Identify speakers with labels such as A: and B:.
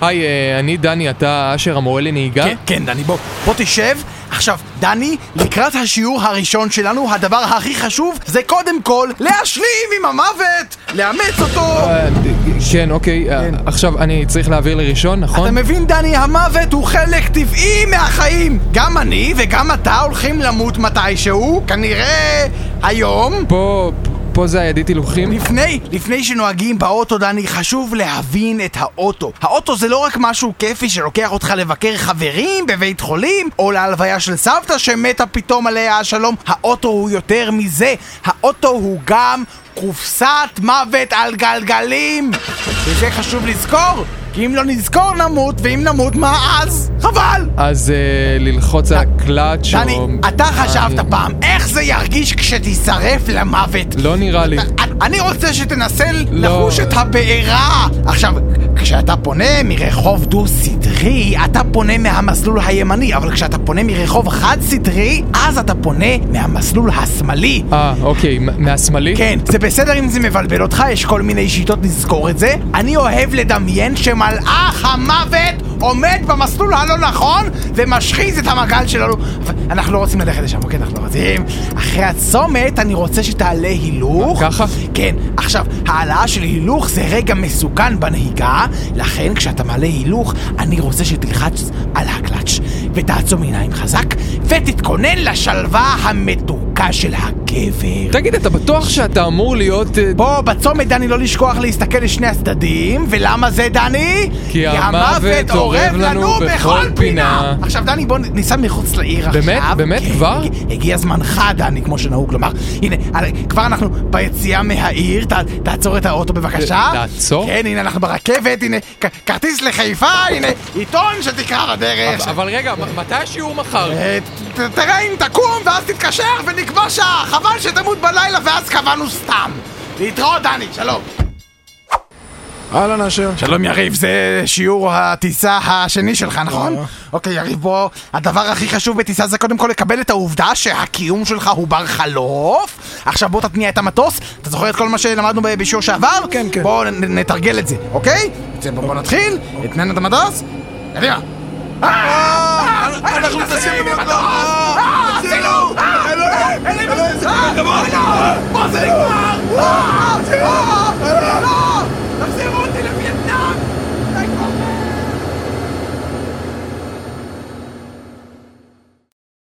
A: היי, אה, אני דני, אתה אשר המורה לנהיגה?
B: כן, כן, דני, בוא, בוא תשב. עכשיו, דני, לקראת השיעור הראשון שלנו, הדבר הכי חשוב זה קודם כל להשלים עם המוות! לאמץ אותו!
A: אה, כן, אוקיי. אה,
B: כן.
A: עכשיו אני צריך להעביר לראשון,
B: אתה
A: נכון?
B: מבין, דני, המוות הוא חלק טבעי מהחיים! גם אני וגם אתה הולכים למות מתישהו, כנראה היום.
A: פה, פה זה הידית הילוכים?
B: לפני, לפני שנוהגים באוטו, דני, חשוב להבין את האוטו. האוטו זה לא רק משהו כיפי שלוקח אותך לבקר חברים בבית חולים, או להלוויה של סבתא שמתה פתאום עליה השלום. האוטו הוא יותר מזה. האוטו הוא גם קופסת מוות על גלגלים. וזה חשוב לזכור, כי אם לא נזכור נמות, ואם נמות מה אז? חבל!
A: אז אה, ללחוץ על הקלאץ'
B: דני,
A: או...
B: אתה חשבת
A: אה,
B: פעם איך זה ירגיש כשתישרף למוות?
A: לא נראה לי.
B: אני רוצה שתנסה
A: לא.
B: לחוש את הבעירה! עכשיו, כשאתה פונה מרחוב דו-סטרי, אתה פונה מהמסלול הימני, אבל כשאתה פונה מרחוב חד-סטרי, אז אתה פונה מהמסלול השמאלי.
A: אה, אוקיי, מ- מהשמאלי?
B: כן, זה בסדר אם זה מבלבל אותך, יש כל מיני שיטות לזכור את זה. אני אוהב לדמיין שמלאך המוות עומד במסלול הלא נכון ומשחיז את המגל שלנו. אבל אנחנו לא רוצים ללכת לשם, אוקיי, אנחנו לא רוצים. אחרי הצומת אני רוצה שתעלה הילוך.
A: ככה?
B: כן. עכשיו, העלאה של הילוך זה רגע מסוכן בנהיגה, לכן כשאתה מעלה הילוך, אני רוצה שתלחץ על הקלאץ' ותעצום עיניים חזק ותתכונן לשלווה המתוקה של הגבר.
A: תגיד, אתה בטוח שאתה אמור להיות... אה,
B: פה בצומת, דני, לא לשכוח להסתכל לשני הצדדים, ולמה זה, דני?
A: כי המוות אורב לנו בכל פינה.
B: עכשיו, דני, בוא ניסע מחוץ לעיר עכשיו.
A: באמת? באמת?
B: כן,
A: כבר?
B: הג- הגיע זמנך, דני, כמו שנהוג לומר. הנה, הרי כבר אנחנו ביציאה מהעיר, ת- תעצור את האוטו בבקשה.
A: ת- תעצור?
B: כן, הנה, אנחנו ברכבת, הנה, כ- כרטיס לחיפה, הנה, עיתון שתקרא בדרך.
A: אבל רגע, מ- מתי השיעור מחר?
B: אה, ת- ת- תראה אם תקום ואז תתקשר ונקבע שעה, חבל שתמות בלילה ואז קבענו סתם. להתראות דני, שלום.
C: אהלן אשר.
B: שלום יריב, זה שיעור הטיסה השני שלך, נכון?
C: אה.
B: אוקיי יריב, בוא, הדבר הכי חשוב בטיסה זה קודם כל לקבל את העובדה שהקיום שלך הוא בר חלוף. עכשיו בוא תתניע את המטוס, אתה זוכר את כל מה שלמדנו ב- בשיעור שעבר?
C: כן, כן.
B: בוא נ- נתרגל את זה, אוקיי? בוא- בוא נתחיל,
C: אוקיי.
B: נתנן את המטוס, קדימה. אה,
C: אנחנו
B: אנחנו
C: טסים
B: טסים
C: למטוס!
B: למטוס!